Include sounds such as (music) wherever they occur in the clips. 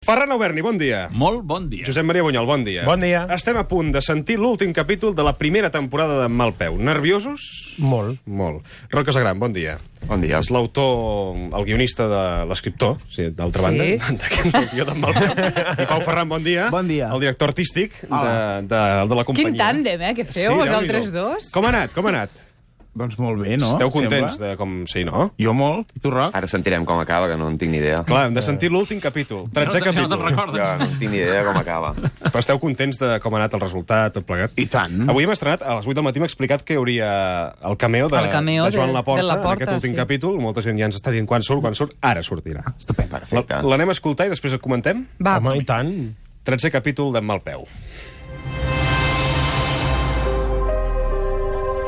Ferran Auberni, bon dia. Molt bon dia. Josep Maria Bunyol, bon dia. Bon dia. Estem a punt de sentir l'últim capítol de la primera temporada de Malpeu. Nerviosos? Molt. Molt. Roca Sagran, bon dia. Bon dia. És l'autor, el guionista de l'escriptor, sí, d'altra Sí. banda, (laughs) d'aquest guió de Malpeu. I Pau Ferran, bon dia. Bon dia. El director artístic de, de, de la companyia. Quin tàndem, eh, que feu, vosaltres Déu-n'hi-do. dos. Com ha anat, com ha anat? Doncs molt Eh, bé, no? Esteu contents Sembla? de com... Sí, no? Jo molt. I tu, Roc? Ara sentirem com acaba, que no en tinc ni idea. Clar, hem de sentir l'últim capítol, 13 no, capítol. no te'n recordes. Ja, no en tinc ni idea com acaba. Però esteu contents de com ha anat el resultat, tot plegat? I tant. Avui hem estrenat, a les 8 del matí m'ha explicat que hi hauria el cameo de, El cameo de Joan de- Laporta, de Laporta, en aquest últim sí. capítol. Molta gent ja ens està dient quan surt, quan surt. Ara sortirà. Estupendo. Perfecte. L- L'anem a escoltar i després el comentem. Va, Home, i tant. 13 capítol de Malpeu.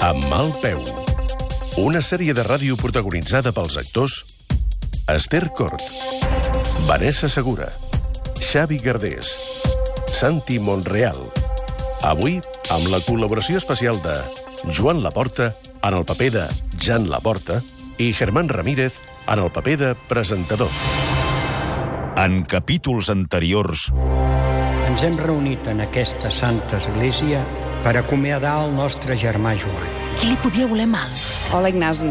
Amb mal peu. Una sèrie de ràdio protagonitzada pels actors Esther Cort, Vanessa Segura, Xavi Gardés, Santi Monreal. Avui, amb la col·laboració especial de Joan Laporta, en el paper de Jan Laporta, i Germán Ramírez, en el paper de presentador. En capítols anteriors... Ens hem reunit en aquesta santa església per acomiadar el nostre germà Joan. Qui li podia voler mal? Hola, Ignasi.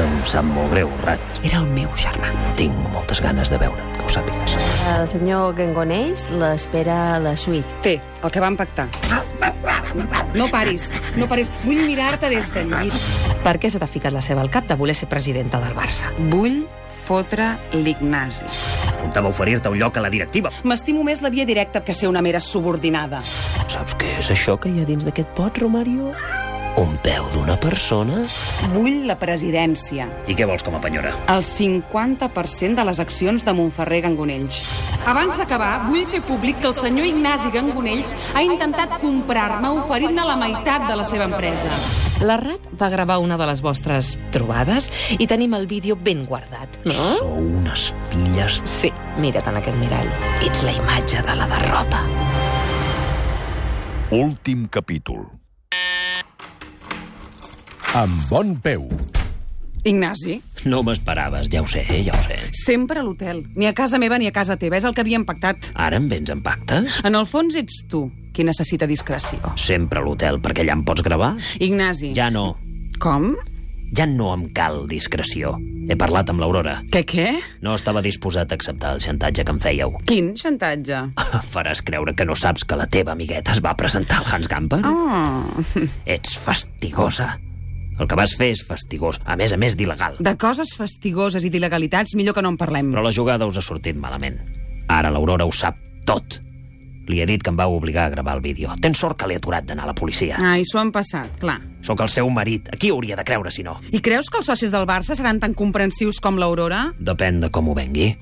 Em sap molt greu, Rat. Era el meu germà. Tinc moltes ganes de veure, que ho sàpigues. El senyor Gangonès l'espera a la suite. Té, el que vam pactar. No paris, no paris. Vull mirar-te des del llit. Per què se t'ha ficat la seva al cap de voler ser presidenta del Barça? Vull fotre l'Ignasi. Apuntava a oferir-te un lloc a la directiva. M'estimo més la via directa que ser una mera subordinada. Saps què és això que hi ha dins d'aquest pot, Romario? Un peu d'una persona? Vull la presidència. I què vols com a penyora? El 50% de les accions de Montferrer Gangonells. Abans d'acabar, vull fer públic que el senyor Ignasi Gangonells ha intentat comprar-me oferint-me la meitat de la seva empresa. La Rat va gravar una de les vostres trobades i tenim el vídeo ben guardat, no? Sou unes filles... Sí, mira't en aquest mirall. Ets la imatge de la derrota. Últim capítol. Amb bon peu. Ignasi, No m'esperaves, ja ho sé, ja ho sé. sempre a l'hotel. Ni a casa meva ni a casa teva, és el que havíem pactat. Ara em vens en pactes? En el fons ets tu qui necessita discreció. Sempre a l'hotel, perquè allà em pots gravar? Ignasi. Ja no. Com? Ja no em cal discreció. He parlat amb l'Aurora. Que què? No estava disposat a acceptar el xantatge que em fèieu. Quin xantatge? (laughs) Faràs creure que no saps que la teva amigueta es va presentar al Hans Gamper? Oh, Ets fastigosa. El que vas fer és fastigós, a més a més d'il·legal. de coses fastigoses i d'il·legalitats millor que no en parlem. Però la jugada us ha sortit malament. Ara l'Aurora ho sap tot. Li he dit que em vau obligar a gravar el vídeo. Tens sort que l'he aturat d'anar a la policia. Ai, s'ho han passat, clar. Sóc el seu marit. A qui hauria de creure, si no? I creus que els socis del Barça seran tan comprensius com l'Aurora? Depèn de com ho vengui.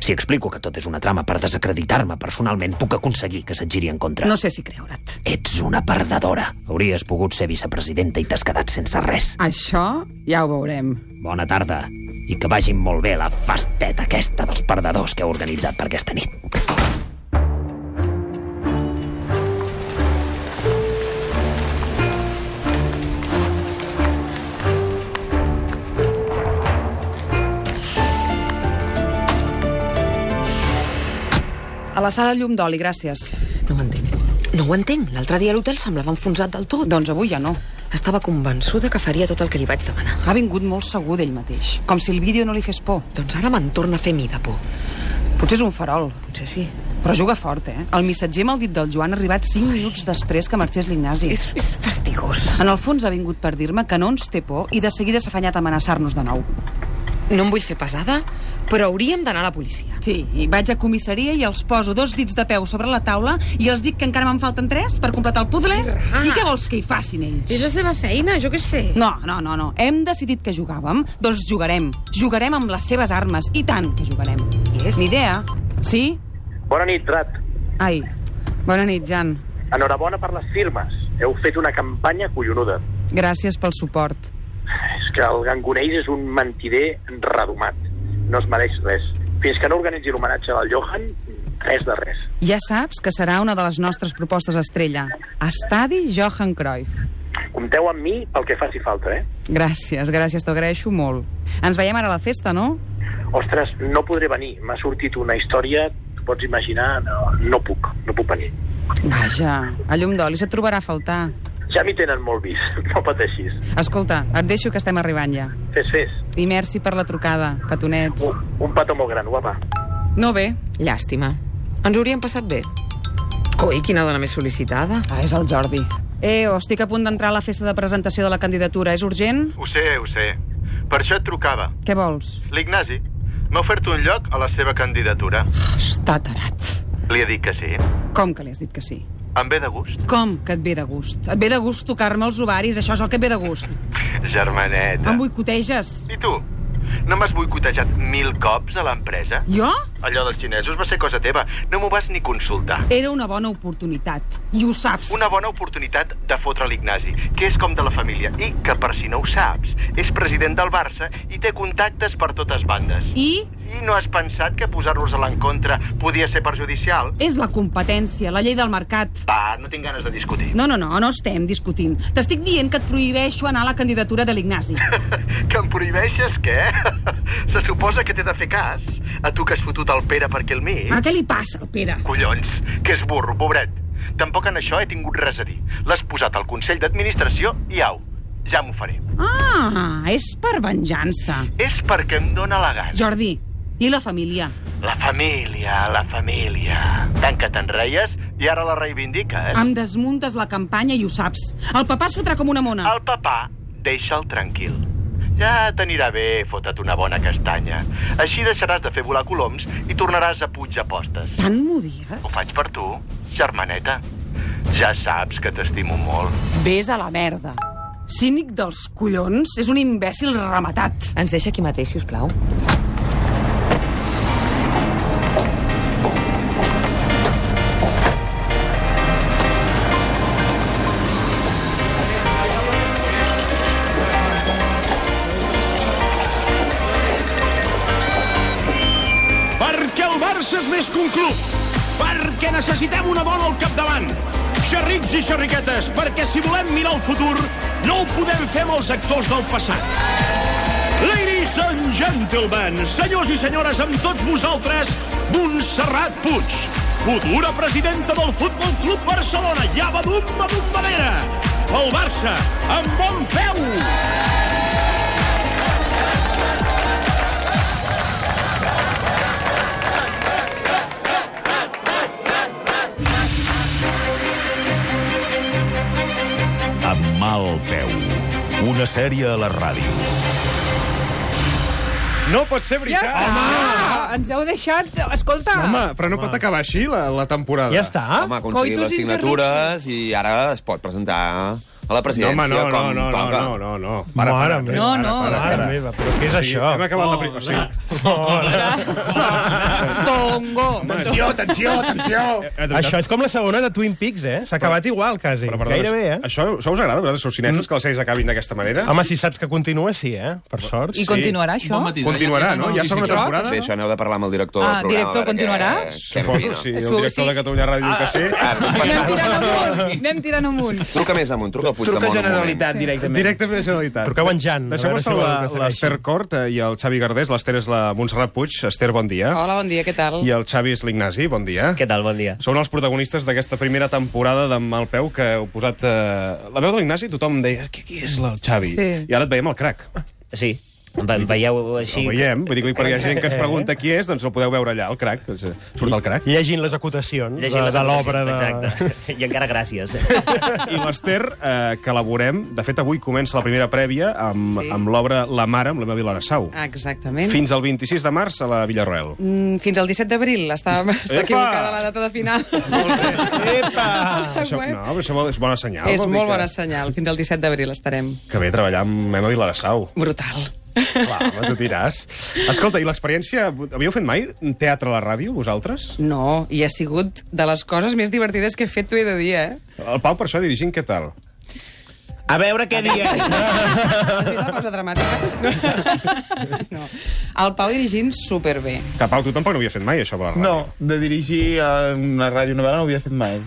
Si explico que tot és una trama per desacreditar-me personalment, puc aconseguir que se't giri en contra. No sé si creure't. Ets una perdedora. Hauries pogut ser vicepresidenta i t'has quedat sense res. Això ja ho veurem. Bona tarda. I que vagin molt bé la festeta aquesta dels perdedors que heu organitzat per aquesta nit. A la sala llum d'oli, gràcies. No ho entenc. No ho entenc. L'altre dia a l'hotel semblava enfonsat del tot. Doncs avui ja no. Estava convençuda que faria tot el que li vaig demanar. Ha vingut molt segur d'ell mateix. Com si el vídeo no li fes por. Doncs ara me'n torna a fer mi de por. Potser és un farol, Potser sí. però juga fort, eh? El missatger maldit del Joan ha arribat 5 minuts després que marxés l'Ignasi. És, és fastigós. En el fons ha vingut per dir-me que no ens té por i de seguida s'ha afanyat a amenaçar-nos de nou. No em vull fer pesada, però hauríem d'anar a la policia. Sí, i vaig a comissaria i els poso dos dits de peu sobre la taula i els dic que encara me'n falten tres per completar el puzzle. I què vols que hi facin ells? la seva feina, jo què sé. No, no, no, no. Hem decidit que jugàvem, doncs jugarem. Jugarem amb les seves armes, i tant que jugarem. I és? Ni idea. Sí? Bona nit, Rat. Ai, bona nit, Jan. Enhorabona per les firmes. Heu fet una campanya collonuda. Gràcies pel suport. És que el Gangonells és un mentider redomat. No es mereix res. Fins que no organitzi l'homenatge del Johan, res de res. Ja saps que serà una de les nostres propostes estrella. Estadi Johan Cruyff. Compteu amb mi pel que faci falta, eh? Gràcies, gràcies, t'ho agraeixo molt. Ens veiem ara a la festa, no? Ostres, no podré venir. M'ha sortit una història, t'ho pots imaginar, no, no puc, no puc venir. Vaja, a llum d'oli se't trobarà a faltar. Ja m'hi tenen molt vist, (laughs) no pateixis. Escolta, et deixo que estem arribant ja. Fes, fes. I merci per la trucada, petonets. Un, un petó molt gran, guapa. No bé. Llàstima. Ens hauríem passat bé. Coi, quina dona més sol·licitada. Ah, és el Jordi. Eh, oh, estic a punt d'entrar a la festa de presentació de la candidatura. És urgent? Ho sé, ho sé. Per això et trucava. Què vols? L'Ignasi m'ha ofert un lloc a la seva candidatura. Està tarat. Li he dit que sí. Com que li has dit que sí? Em ve de gust. Com que et ve de gust? Et ve de gust tocar-me els ovaris, això és el que et ve de gust. Germaneta. Em boicoteges. I tu? No m'has boicotejat mil cops a l'empresa? Jo? Allò dels xinesos va ser cosa teva. No m'ho vas ni consultar. Era una bona oportunitat, i ho Eh, saps. Una bona oportunitat de fotre l'Ignasi, que és com de la família, i que, per si no ho saps, és president del Barça i té contactes per totes bandes. I? I no has pensat que posar-los a l'encontre podia ser perjudicial? És la competència, la llei del mercat. Va, no tinc ganes de discutir. No, no, no, no estem discutint. T'estic dient que et prohibeixo anar a la candidatura (laughs) de l'Ignasi. que em prohibeixes què? (laughs) Se suposa que t'he de fer cas. A tu que has fotut el Pere perquè el mig... A què li passa, al Pere? Collons, que és burro, pobret. Tampoc en això he tingut res a dir. L'has posat al Consell d'Administració i au, ja m'ho faré. Ah, és per venjança. És perquè em dóna la gana. Jordi, i la família? La família, la família. Tant que te'n reies i ara la reivindiques. Em desmuntes la campanya i ho saps. El papà es fotrà com una mona. El papà, deixa'l tranquil. Ja t'anirà bé, fota't una bona castanya. Així deixaràs de fer volar coloms i tornaràs a Puig Apostes. Tant m'ho dies? Ho faig per tu, germaneta. Ja saps que t'estimo molt. Ves a la merda. Cínic dels collons, és un imbècil rematat. Ens deixa aquí mateix, si us plau. Perquè el Barça és més que un club. Perquè necessitem una dona al capdavant. Xerrics i xerriquetes, perquè si volem mirar el futur, no ho podem fer amb els actors del passat. Ladies and gentlemen, senyors i senyores, amb tots vosaltres, Montserrat Puig, futura presidenta del Futbol Club Barcelona. Ja va d'un, va d'un, manera. El Barça, amb bon peu. Amb mal peu. Una sèrie a la ràdio. No pot ser veritat. Ja està! Ah, Ens heu deixat... Escolta! Home, però no pot acabar així la, la temporada. Ja està. Home, aconseguir Coitus les signatures i ara es pot presentar a la presidència No, home, no, com no, no, toca. no, no, no, no. Para, para, Mare meva, para, no, para, mare para. meva, però què és sí, això? Hem acabat la primera... Sí. Tongo! Atenció, atenció, atenció! Això és com la segona de Twin Peaks, eh? S'ha acabat igual, quasi. Però, Perdona, Gairebé, eh? Mm. Això, això us agrada, a vosaltres, sou cinèfils, que les sèries acabin d'aquesta manera? Home, si saps que continua, sí, eh? Per sort. I continuarà, això? Bon matí, Continuarà, ja no? tenen Ja el segona Disney Plus, temporada? Sí, això aneu de parlar amb el director Ah, del programa. director, a veure continuarà? Què, què Suposo, opina. sí. Segur, El director sí. de Catalunya Ràdio diu que sí. Anem tirant amunt, anem tirant amunt. Ah, Truca més amunt, truca a Puigdemont. un moment. directament. Directament a Generalitat. Truqueu en Jan, a Deixeu-me veure si vol saludar que segueixi. l'Ester Cort eh, i el Xavi Gardés. L'Ester és la Montserrat Puig. Ester, bon dia. Hola, bon dia, què tal? I el Xavi és l'Ignasi, bon dia. Què tal, bon dia? Són els protagonistes d'aquesta primera temporada de Malpeu que heu posat... Eh, la veu de l'Ignasi tothom deia qui, qui és el Xavi? Sí. I ara et veiem el crac. Sí, ve veieu així... Eh? El veiem, vull dir que perquè hi ha gent que es pregunta qui és, doncs el podeu veure allà, el crac. Doncs, eh, Surt el crac. Llegint les acotacions Llegint les de, de l'obra de... anotacions, Exacte. (laughs) I encara gràcies. I l'Ester, eh, que la veurem... De fet, avui comença la primera prèvia amb, Sí. sí. amb l'obra La Mare, amb l'Emma Vilarasau. Exactament. Fins al 26 de març a la Villarroel. Mm, fins al 17 d'abril. Està, (laughs) Epa! està equivocada la data de final. Epa! Això, no, però això és bona senyal. (laughs) Ah, és vol dir molt que- bona senyal. Fins al 17 d'abril estarem. Que bé treballar amb Emma Vilarasau. Brutal. Clar, home, tu diràs. Escolta, i l'experiència... Havíeu fet mai teatre a la ràdio, vosaltres? No, i ha sigut de les coses més divertides que he fet, t'ho he de dir, eh? El Pau, per això, dirigint, què tal? A veure què diem. (laughs) Has vist la pausa dramàtica? No. (laughs) El Pau dirigint superbé. Que, Pau, tu tampoc no ho havia fet mai, això, a la ràdio. No, de dirigir a una ràdio novel·la no ho havia fet mai.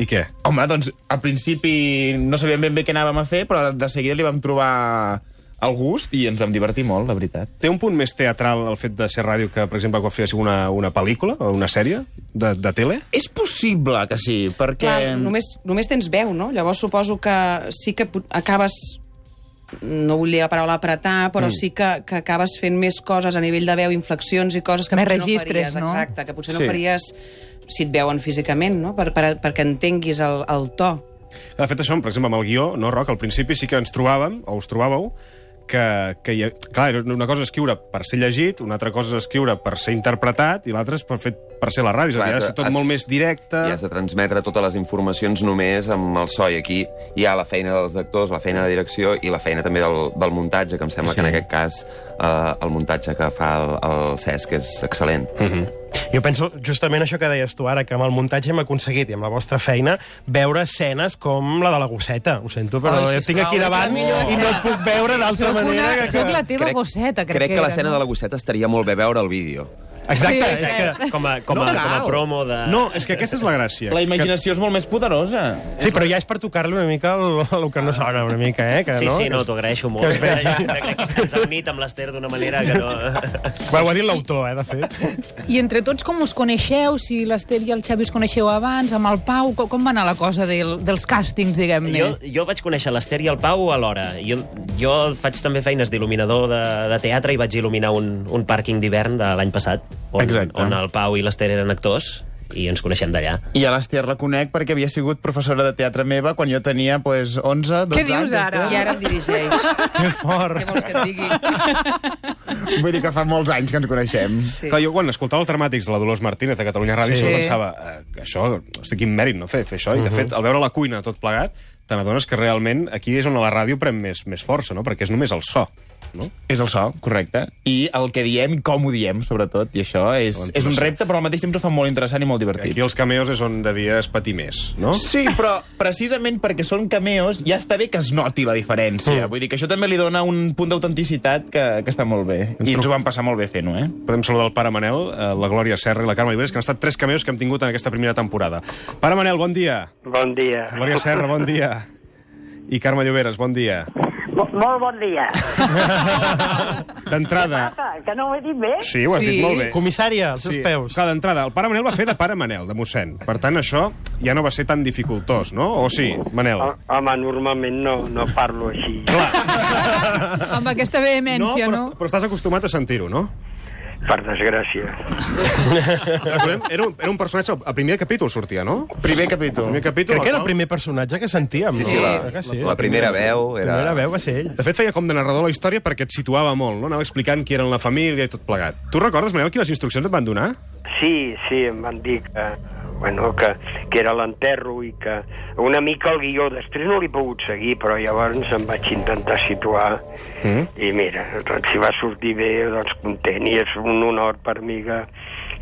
I què? Home, doncs, al principi no sabíem ben bé què anàvem a fer, però de seguida li vam trobar el gust i ens vam divertir molt, la veritat. Té un punt més teatral el fet de ser ràdio que, per exemple, quan feies una, una pel·lícula o una sèrie de, de tele? És possible que sí, perquè... Clar, només, només tens veu, no? Llavors suposo que sí que pot- acabes no vull dir la paraula apretar, però Mm. mm. sí que, que acabes fent més coses a nivell de veu, inflexions i coses que Més potser registres, no faries. no? Exacte, que potser sí. Sí. no faries si et veuen físicament, no? Per, per, perquè entenguis el, el to. De fet, això, per exemple, amb el guió, no, Roc, al principi sí que ens trobàvem, o us trobàveu, que, que hi ha... clar, era una cosa és escriure per ser llegit, una altra cosa és escriure per ser interpretat, i l'altra és per, fet, per ser a la ràdio. Clar, Clar, és a dir, ha has de de- ser tot has- molt més directe. I has de transmetre totes les informacions només amb el so. I aquí hi ha la feina dels actors, la feina de direcció i la feina també del, del muntatge, que em sembla sí. que en aquest cas eh, el muntatge que fa el, el Cesc és excel·lent. Mm Mhm. -hmm. Jo penso justament això que deies tu ara, que amb el muntatge hem aconseguit, i amb la vostra feina, veure escenes com la de la gosseta. Ho sento, però Ai, oh, jo sisplau, estic aquí és la davant i millor no et puc veure d'altra manera que... Soc la teva gosseta, crec, Crec que era, l'escena no? de la gosseta estaria molt bé veure el vídeo. Exacte, Sí, és Eh, que- Com a, com a- No cal. com a promo de... No, és que aquesta és la gràcia. La imaginació és molt més poderosa. Sí, però ja és per tocar-li una mica el, el que no sona, una mica, eh? Que, Sí, no? sí, no, t'ho agraeixo molt. Que es vegi. Crec que ens ha unit amb l'Ester d'una manera que no... Bueno, ho ha dit l'autor, eh, de fet. I entre tots, com us coneixeu? Si l'Ester i el Xavi us coneixeu abans, amb el Pau, com, com va anar la cosa del, dels càstings, diguem-ne? Jo, jo vaig conèixer l'Ester i el Pau alhora. Jo, jo faig també feines d'il·luminador de, de teatre i vaig il·luminar un, un pàrquing d'hivern de l'any passat, on, on el Pau i l'Ester eren actors i ens coneixem d'allà. I a l'Ester la conec perquè havia sigut professora de teatre meva quan jo tenia pues, 11, 12 anys. I ara (laughs) em dirigeix. Que fort. Què vols que et digui? Vull dir que fa molts anys que ens coneixem. Sí. Clar, jo quan escoltava els dramàtics de la Dolors Martínez de Catalunya Ràdio Sí. sí. pensava, eh, això, hosti, quin mèrit, no, fer, fer això. I, de Mhm. fet, al veure la cuina tot plegat, te n'adones que realment aquí és on la ràdio pren més, més força, no? Perquè és només el so. És el so, correcte. Eh? I el que diem i com ho diem, sobretot. I això és, és un repte, però al mateix temps ho fa molt interessant i molt divertit. Doncs Aquí els cameos és on devies patir més, no? Sí, però precisament perquè són cameos ja està bé que es noti la diferència. Mm. Vull dir que això també li dona un punt d'autenticitat que, que està molt bé. I ens ho vam passar molt bé fent-ho, eh? Podem saludar el pare Manel, eh, la Glòria Serra i la Carme Iberes, que han estat tres cameos que hem tingut en aquesta primera temporada. Pare Manel, bon dia. Bon dia. Glòria Serra, bon dia. I Carme Lloberes, bon dia. Mo- Molt bon dia. D'entrada... Ah, que no ho he dit bé? Sí, ho has dit molt bé. Comissària, als seus peus. Clar, d'entrada, el pare Manel va fer de pare Manel, de mossèn. Per tant, això ja no va ser tan dificultós, no? O sí, Manel? Ho- Ah, Home, normalment no, no parlo així. Amb aquesta vehemència, però, no? est- però estàs acostumat a sentir-ho, no? Per desgràcia. Recordem, era un, era un personatge... El primer capítol sortia, no? Primer capítol. Primer capítol. Crec que era el qual- primer personatge que sentíem. Sí, no? sí, la- Crec que sí. la primera veu era- La primera veu va ser ell. De fet, feia com de narrador la història perquè et situava molt, no? Anava explicant qui eren la família i tot plegat. Tu recordes, Manel, quines instruccions et van donar? Sí, sí, em van dir que, bueno, que, que era l'enterro i que una mica el guió. Després no l'he pogut seguir, però llavors em vaig intentar situar Mm? i mira, doncs, si va sortir bé, doncs content i és un honor per mi que,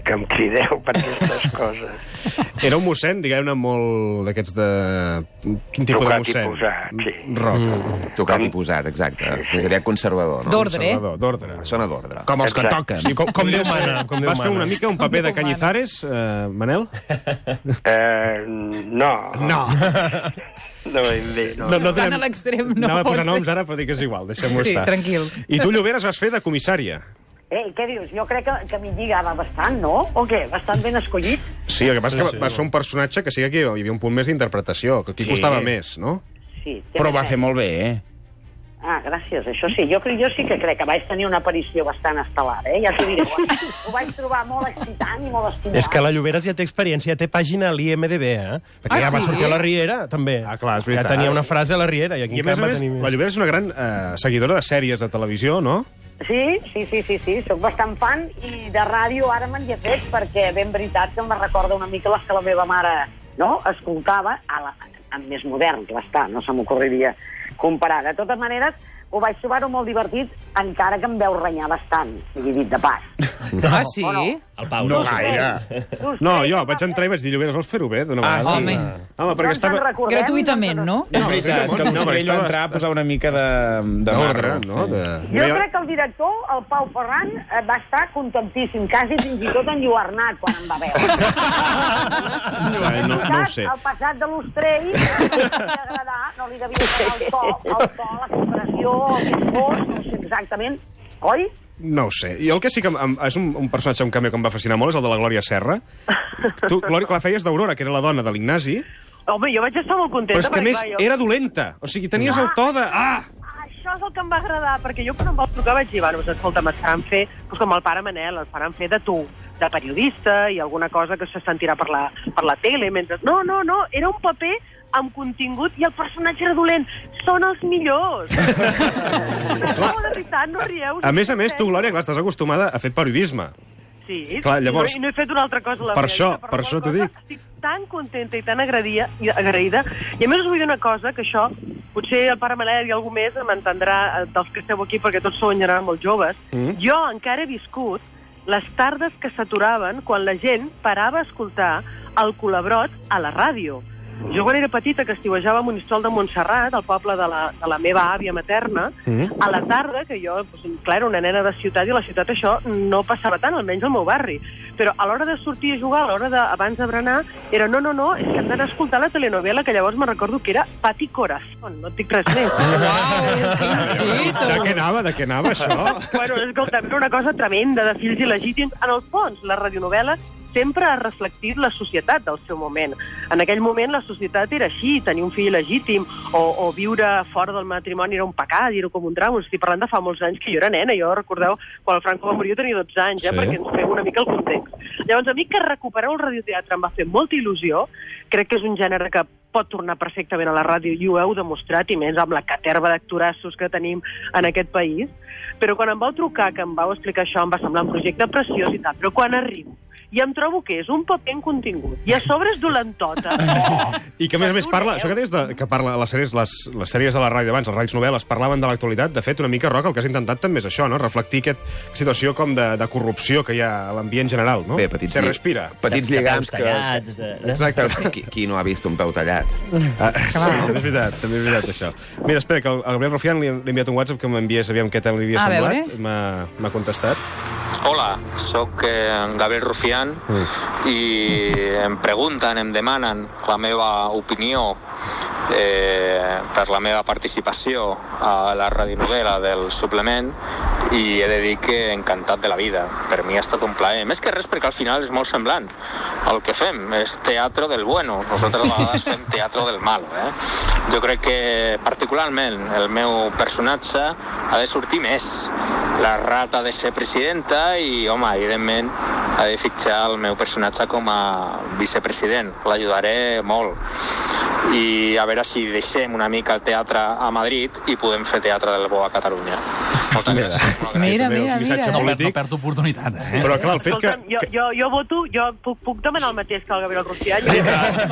que em crideu per aquestes coses. Era un mossèn, diguem-ne, molt d'aquests de... Quin tipus Tocat de i mossèn? posat, sí. Rock. Mm. Tocat i posat, exacte. Més aviat conservador, no? D'ordre. eh? Conservador, d'ordre. Persona d'ordre. Com els que Exacte. toquen. Sí, com- com Déu mana, com Déu Vas fer mana. una mica un paper de Cañizares, eh, Manel? Eh, no. No. No, ben bé, no. No, no Tant direm- a l'extrem, no Anava a pot posar ser. noms ara, però dic que és igual, deixem-ho Sí, estar. tranquil. I tu, Lloberes, vas fer de comissària. Ei, Eh, què dius? Jo crec que, que m'hi lligava bastant, no? O què? Bastant ben escollit? Sí, el que passa és Sí, que sí. sí, vas fer un personatge que sí que aquí hi havia un punt més d'interpretació, que aquí Sí. sí. costava més, no? Sí. té Però va raó. fer molt bé, eh? Ah, gràcies, això sí. Jo, crec- jo sí que crec que vaig tenir una aparició bastant estel·lar, eh? Ja (laughs) t'ho diré. Ho vaig trobar molt excitant i molt estimulant. És que la Lloberes ja té experiència, ja té pàgina a l'IMDB, eh? Perquè Ah, ja va sí? sortir a la Riera, també. Ah, clar, és veritat. Ja tenia una frase a la Riera, i aquí I a encara més a va més, tenir... la Lloberes és una gran eh, seguidora de sèries de televisió, no? Sí, sí, sí, sí, sí, sóc bastant fan i de ràdio ara me'n hi he fet perquè ben veritat que em recorda una mica les que la meva mare no, escoltava a la, en més modern, clar està, no se m'ocorriria comparar. De totes maneres, ho vaig trobar-ho molt divertit, encara que em veu renyar bastant, sigui dit de pas. Ah, sí? El Pau, no? No, jo vaig entrar i vaig dir, Lloberes, vols fer-ho bé? D'una Ah, vegada. sí. Home. Home, perquè estava... Gratuïtament, no? És veritat, que el No, però Mosquell va estava- entrar a posar una mica de... de No, marra, res, no, de- Jo crec que el director, el Pau Ferran, eh, va estar contentíssim, quasi fins i tot enlluernat quan em va (laughs) veure. Eh, no, no ho sé. El passat de l'Ostrell no li devia agradar, no li devia agradar el to, el to, la compressió, el que fos, no ho sé exactament. Oi? No ho sé. I el que sí que em- em, és un, un personatge, un cameo que em va fascinar molt és el de la Glòria Serra. Tu, Glòria, que la feies d'Aurora, que era la dona de l'Ignasi, Home, jo vaig estar molt contenta. però és que, a perquè, més, clar, jo... era dolenta. O sigui, tenies el to de... Ah! Això és el que em va agradar, perquè jo quan em vas trucar vaig dir, bueno, doncs, escolta, es faran fer, doncs com el pare Manel, es faran fer de tu, de periodista i alguna cosa que se sentirà per la, per la tele, mentre... No, no, no, era un paper amb contingut i el personatge era dolent. Són els (laughs) millors! no, de veritat, no rieu. A més a més, tu, Glòria, clar, estàs acostumada a fer periodisme. Sí, Clar, llavors- i no, i no he fet una altra cosa. a La Per meva això, vida, per la això qual t'ho cosa dic. Estic tan contenta i tan agraïda, i agraïda. I a més us vull dir una cosa, que això, potser el pare Manel i algú més m'entendrà eh, dels que esteu aquí, perquè tots sou en general molt joves. Mm. Jo encara he viscut les tardes que s'aturaven quan la gent parava a escoltar el colabrot a la ràdio. Jo quan era petita, que estiuejava a Monistrol de Montserrat, al poble de la, de la meva àvia materna, Mm. a la tarda, que jo, doncs, clar, era una nena de ciutat i a la ciutat això no passava tant, almenys al meu barri. Però a l'hora de sortir a jugar, a l'hora de, abans de berenar, era no, no, no, és que hem d'anar a escoltar la telenovela, que llavors me recordo que era Pati Corazón, no et dic res més. De què anava, de què anava, això? (laughs) bueno, escolta, era una cosa tremenda de fills il·legítims. En el fons, la radionovel·la sempre ha reflectit la societat del seu moment. En aquell moment la societat era així, tenir un fill il·legítim o, o viure fora del matrimoni era un pecat, era com un drama. Estic parlant de fa molts anys que jo era nena, jo recordeu quan el Franco va morir jo tenia 12 anys, eh, Sí. perquè ens feu una mica el context. Llavors, a mi que recupereu el radioteatre em va fer molta il·lusió, crec que és un gènere que pot tornar perfectament a la ràdio i ho heu demostrat, i més amb la caterva d'actorassos que tenim en aquest país. Però quan em vau trucar, que em vau explicar això, em va semblar un projecte preciós i tal, però quan arribo i em trobo que és un paper en contingut i a sobre és dolentota. Oh, I que, a més a més, eh? parla... Això que deies de, que parla les sèries, les, les sèries de la ràdio d'abans, les ràdios novel·les, parlaven de l'actualitat. De fet, una mica, Roc, el que has intentat també és això, no? Reflectir aquest, aquesta situació com de, de corrupció que hi ha a l'ambient general, no? Bé, petits Se lli- respira. Petits lligams que... Exacte. Exacte. Qui, qui no ha vist un peu tallat? Ah, sí, també és veritat, també és veritat, això. Mira, espera, que el, el Gabriel Rufián li, li ha enviat un WhatsApp que m'enviés, aviam què tal li Ah, A havia semblat. eh? veure. M'ha m'ha contestat. Hola, sóc eh, en Gabriel Rufián i em pregunten, em demanen la meva opinió eh, per la meva participació a la radionovel·la del suplement i he de dir que encantat de la vida. Per mi ha estat un plaer. Més que res perquè al final és molt semblant. El que fem és teatre del bueno. Nosaltres a vegades fem teatre del mal. Eh? Jo crec que particularment el meu personatge ha de sortir més. La rata de ser presidenta i, home, evidentment ha de fitxar el meu personatge com a vicepresident. L'ajudaré molt. I a veure si deixem una mica el teatre a Madrid i podem fer teatre del bo a Catalunya. Moltes gràcies. (laughs) Mira, mira, Un missatge mira. molt Polític. perd oportunitat, eh? Sí, però clar, el fet que... Escolta'm, jo, jo, jo voto, jo puc, puc demanar el mateix que el Gabriel Rufián.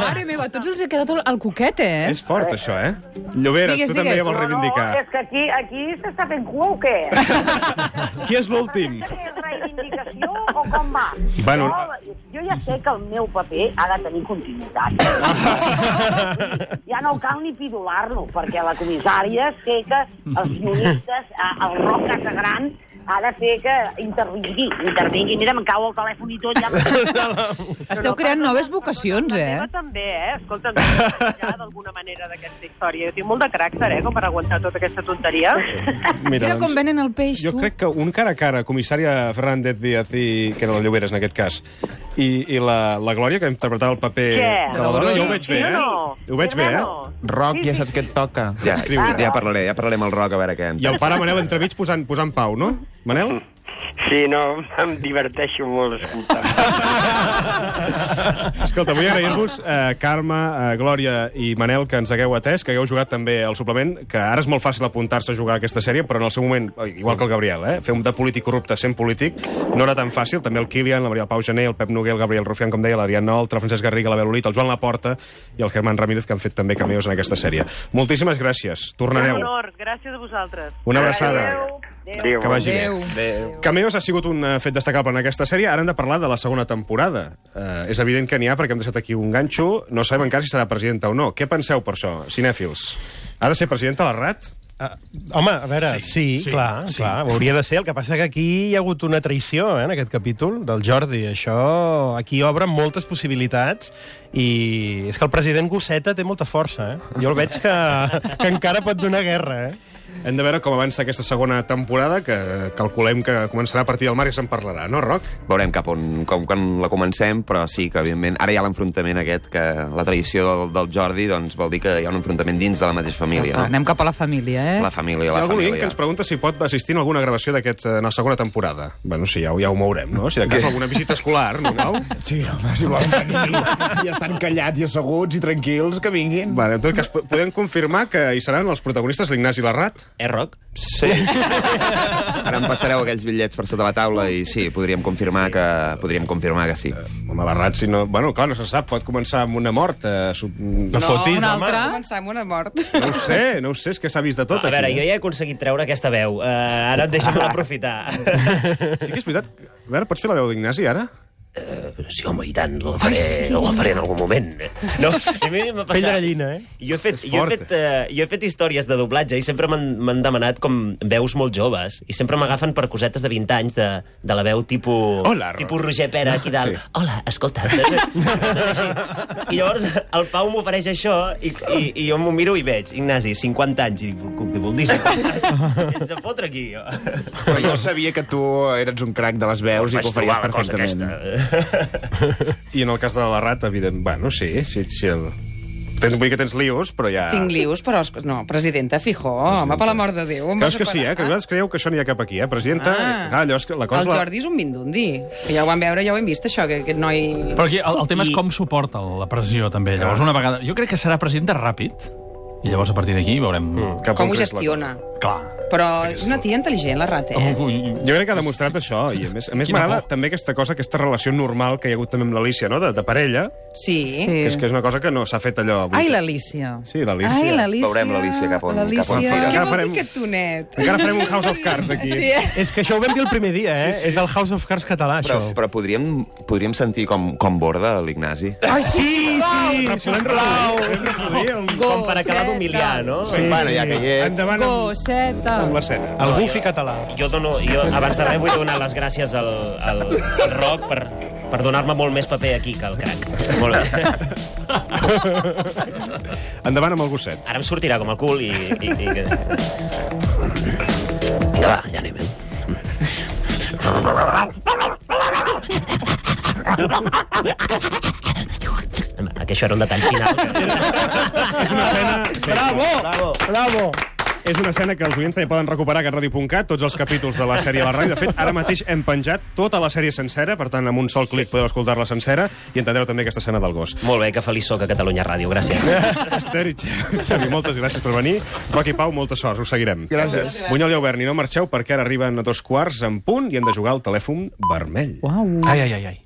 Mare meva, a tots els ha quedat el- el coquet, eh? És fort, això, eh? Lloberes, Digues, tu també digues. ja vols reivindicar. No, és que aquí, aquí s'està fent cua o què? Qui és l'últim? és reivindicació o com va? Bueno, jo, jo ja sé que el meu paper ha de tenir continuïtat. ja no cal ni pidolar-lo, perquè la comissària sé que els guionistes, eh, el Roc Casagran, ha de fer que intervingui, intervingui. Mira, em cau el telèfon i tot. Ja... Esteu creant noves vocacions, eh? meva també, eh? Escolta'm, ja d'alguna manera d'aquesta història. Jo tinc molt de caràcter, eh, com per aguantar tota aquesta tonteria. Mira, Mira com doncs, venen el peix, jo tu. crec que un cara a cara, comissària Fernández Díaz i... que era la Lloberes, en aquest cas, i, i la, la Glòria, que ha interpretat el paper Què? de la dona, eh, jo ho veig bé, Sí o eh? no? Ho veig bé, eh? Hermano. Roc, ja saps què et toca. Ja, Escriu. eh? ja parlaré, ja parlarem al Roc a veure què... I el pare Manel entremig posant, posant pau, no? Manel? Sí, no, em diverteixo molt escoltar. Escolta, vull agrair-vos, eh, Carme, eh, Glòria i Manel, que ens hagueu atès, que hagueu jugat també al suplement, que ara és molt fàcil apuntar-se a jugar a aquesta sèrie, però en el seu moment, eh, igual que el Gabriel, eh, fer un de polític corrupte sent polític, no era tan fàcil. També el Kilian, la Maria del Pau Gené, el Pep Noguer, el Gabriel Rufián, com deia, l'Ariadna Oltra, el Francesc Garriga, la Bel Olit, el Joan Laporta i el Germán Ramírez, que han fet també cameos en aquesta sèrie. Moltíssimes gràcies. Tornareu. Un honor, gràcies a vosaltres. Una abraçada. Adéu. Adéu. Que vagi bé. Adéu. Cameos ha sigut un eh, fet destacable en aquesta sèrie. Ara hem de parlar de la segona temporada. Eh, és evident que n'hi ha perquè hem deixat aquí un ganxo. No sabem encara si serà presidenta o no. Què penseu per això, cinèfils? Ha de ser presidenta la RAT? Uh, home, a veure, sí, sí, sí clar, sí. clar, hauria de ser. El que passa que aquí hi ha hagut una traïció, eh, en aquest capítol, del Jordi. Això aquí obre moltes possibilitats i és que el president Gosseta té molta força, eh? Jo el veig que, que encara pot donar guerra, eh? Hem de veure com avança aquesta segona temporada, que calculem que començarà a partir del març i se'n parlarà, no, Roc? Veurem cap on, com, quan la comencem, però sí que, evidentment, ara hi ha l'enfrontament aquest, que la tradició del, del Jordi doncs, vol dir que hi ha un enfrontament dins de la mateixa família. No? Ah, Anem cap a la família, eh? La família, Hi ha la algun oient que família. ens pregunta si pot assistir en alguna gravació d'aquest eh, en la segona temporada. Bueno, sí, ja, ho- ja ho mourem, no? Si de cas alguna visita escolar, no cal? Sí, home, si volen venir. I estan callats i asseguts i tranquils, que vinguin. Vale, en tot cas, po- podem confirmar que hi seran els protagonistes l'Ignasi i la Rat? Eh, Roc? Sí. Ara em passareu aquells bitllets per sota la taula i sí, podríem confirmar que podríem confirmar que sí. Eh, Home, la Rat, si no... Bueno, clar, no se sap, pot començar amb una mort. Eh, sub... No una altra. Començar amb una mort. No ho sé, no ho sé, és que s'ha vist de tot. A veure, aquí, jo ja he aconseguit treure aquesta veu. Uh, ara deixa'm-la aprofitar. Sí que és veritat. A veure, pots fer la veu d'Ignasi, ara? Eh, Sí, home, i tant, la faré, Ai, sí. la faré en algun moment. No, a mi m'ha Pell de passat... gallina, eh? Jo he, fet, És jo, he fort. fet, eh, jo he fet històries de doblatge i sempre m'han m'han demanat com veus molt joves i sempre m'agafen per cosetes de 20 anys de, de la veu tipus, Hola, Ro- tipus Roger Pera aquí dalt. Sí. Sí. Hola, (laughs) escolta. Així. I llavors el Pau m'ofereix això i, i, i jo m'ho miro i veig, Ignasi, 50 anys. I dic, com que vol dir 50 (laughs) anys? Ets a fotre aquí, jo. Però jo sabia que tu eres un crac de les veus i Vaig que ho faries trobar la cosa perfectament. I en el cas de la Rat, evident, bueno, sí, sí, sí el... Tens, vull dir que tens lios, però ja... Tinc lius, però... es- No, presidenta, fijó, home, per l'amor de Déu. em Creus vas que sí, separar. eh? Que vosaltres creieu que això n'hi ha cap aquí, eh, presidenta? Ah. Clar, allò és que la cosa... El la- Jordi és un mindundi. Que Ja ho vam veure, ja ho hem vist, això, que aquest noi... Però aquí el, el tema és com suporta la pressió, també. Llavors, una vegada... Jo crec que serà presidenta ràpid, i llavors a partir d'aquí veurem... Mm. Com ho gestiona. Clar. Però és una tia intel·ligent, la rata, eh? Jo crec que ha demostrat això, i a més, a més Quina m'agrada també aquesta cosa, aquesta relació normal que hi ha hagut també amb l'Alícia, no?, de, de parella, Sí. Sí. que és que és una cosa que no s'ha fet allò... Ai, l'Alícia. Sí, l'Alícia. Ai, l'Alícia. Veurem l'Alícia cap on- L'Alícia. cap on fira. Què Encara vol dir farem- que tonet? Encara farem un House of Cards aquí. Sí, eh? És que això ho vam dir el primer dia, eh? Sí, Sí, sí. sí. És el House of Cards català, Però, això. però podríem, podríem sentir com, com borda l'Ignasi. Ai, sí, sí, Però podem reproduir, podem reproduir Com per acabar d'humiliar, no? Sí. Bueno, ja que hi ets... Endavant amb, Gosseta. amb l'escena. El bufi català. Jo, dono, jo abans de res vull donar les gràcies al, al, al Roc per, per donar-me molt més paper aquí que al crac. Molt bé. Endavant amb el gosset. Ara em sortirà com el cul i... i, i... que- Ja va, ja anem. eh? Que això era un detall final. (laughs) És una escena... Sí. Bravo! Bravo! Bravo! És una escena que els oients també poden recuperar a catradio.cat, tots els capítols de la sèrie a la ràdio. De fet, ara mateix hem penjat tota la sèrie sencera, per tant, amb un sol clic podeu escoltar-la sencera i entendreu també aquesta escena del gos. Molt bé, que feliç sóc a Catalunya Ràdio, gràcies. Esther i Xavi, (laughs) Xavi, moltes gràcies per venir. Roc i Pau, molta sort, us seguirem. Gràcies. Bunyol i Auberni, no marxeu perquè ara arriben a dos quarts en punt i hem de jugar al telèfon vermell. Uau. Ai, ai, ai, ai.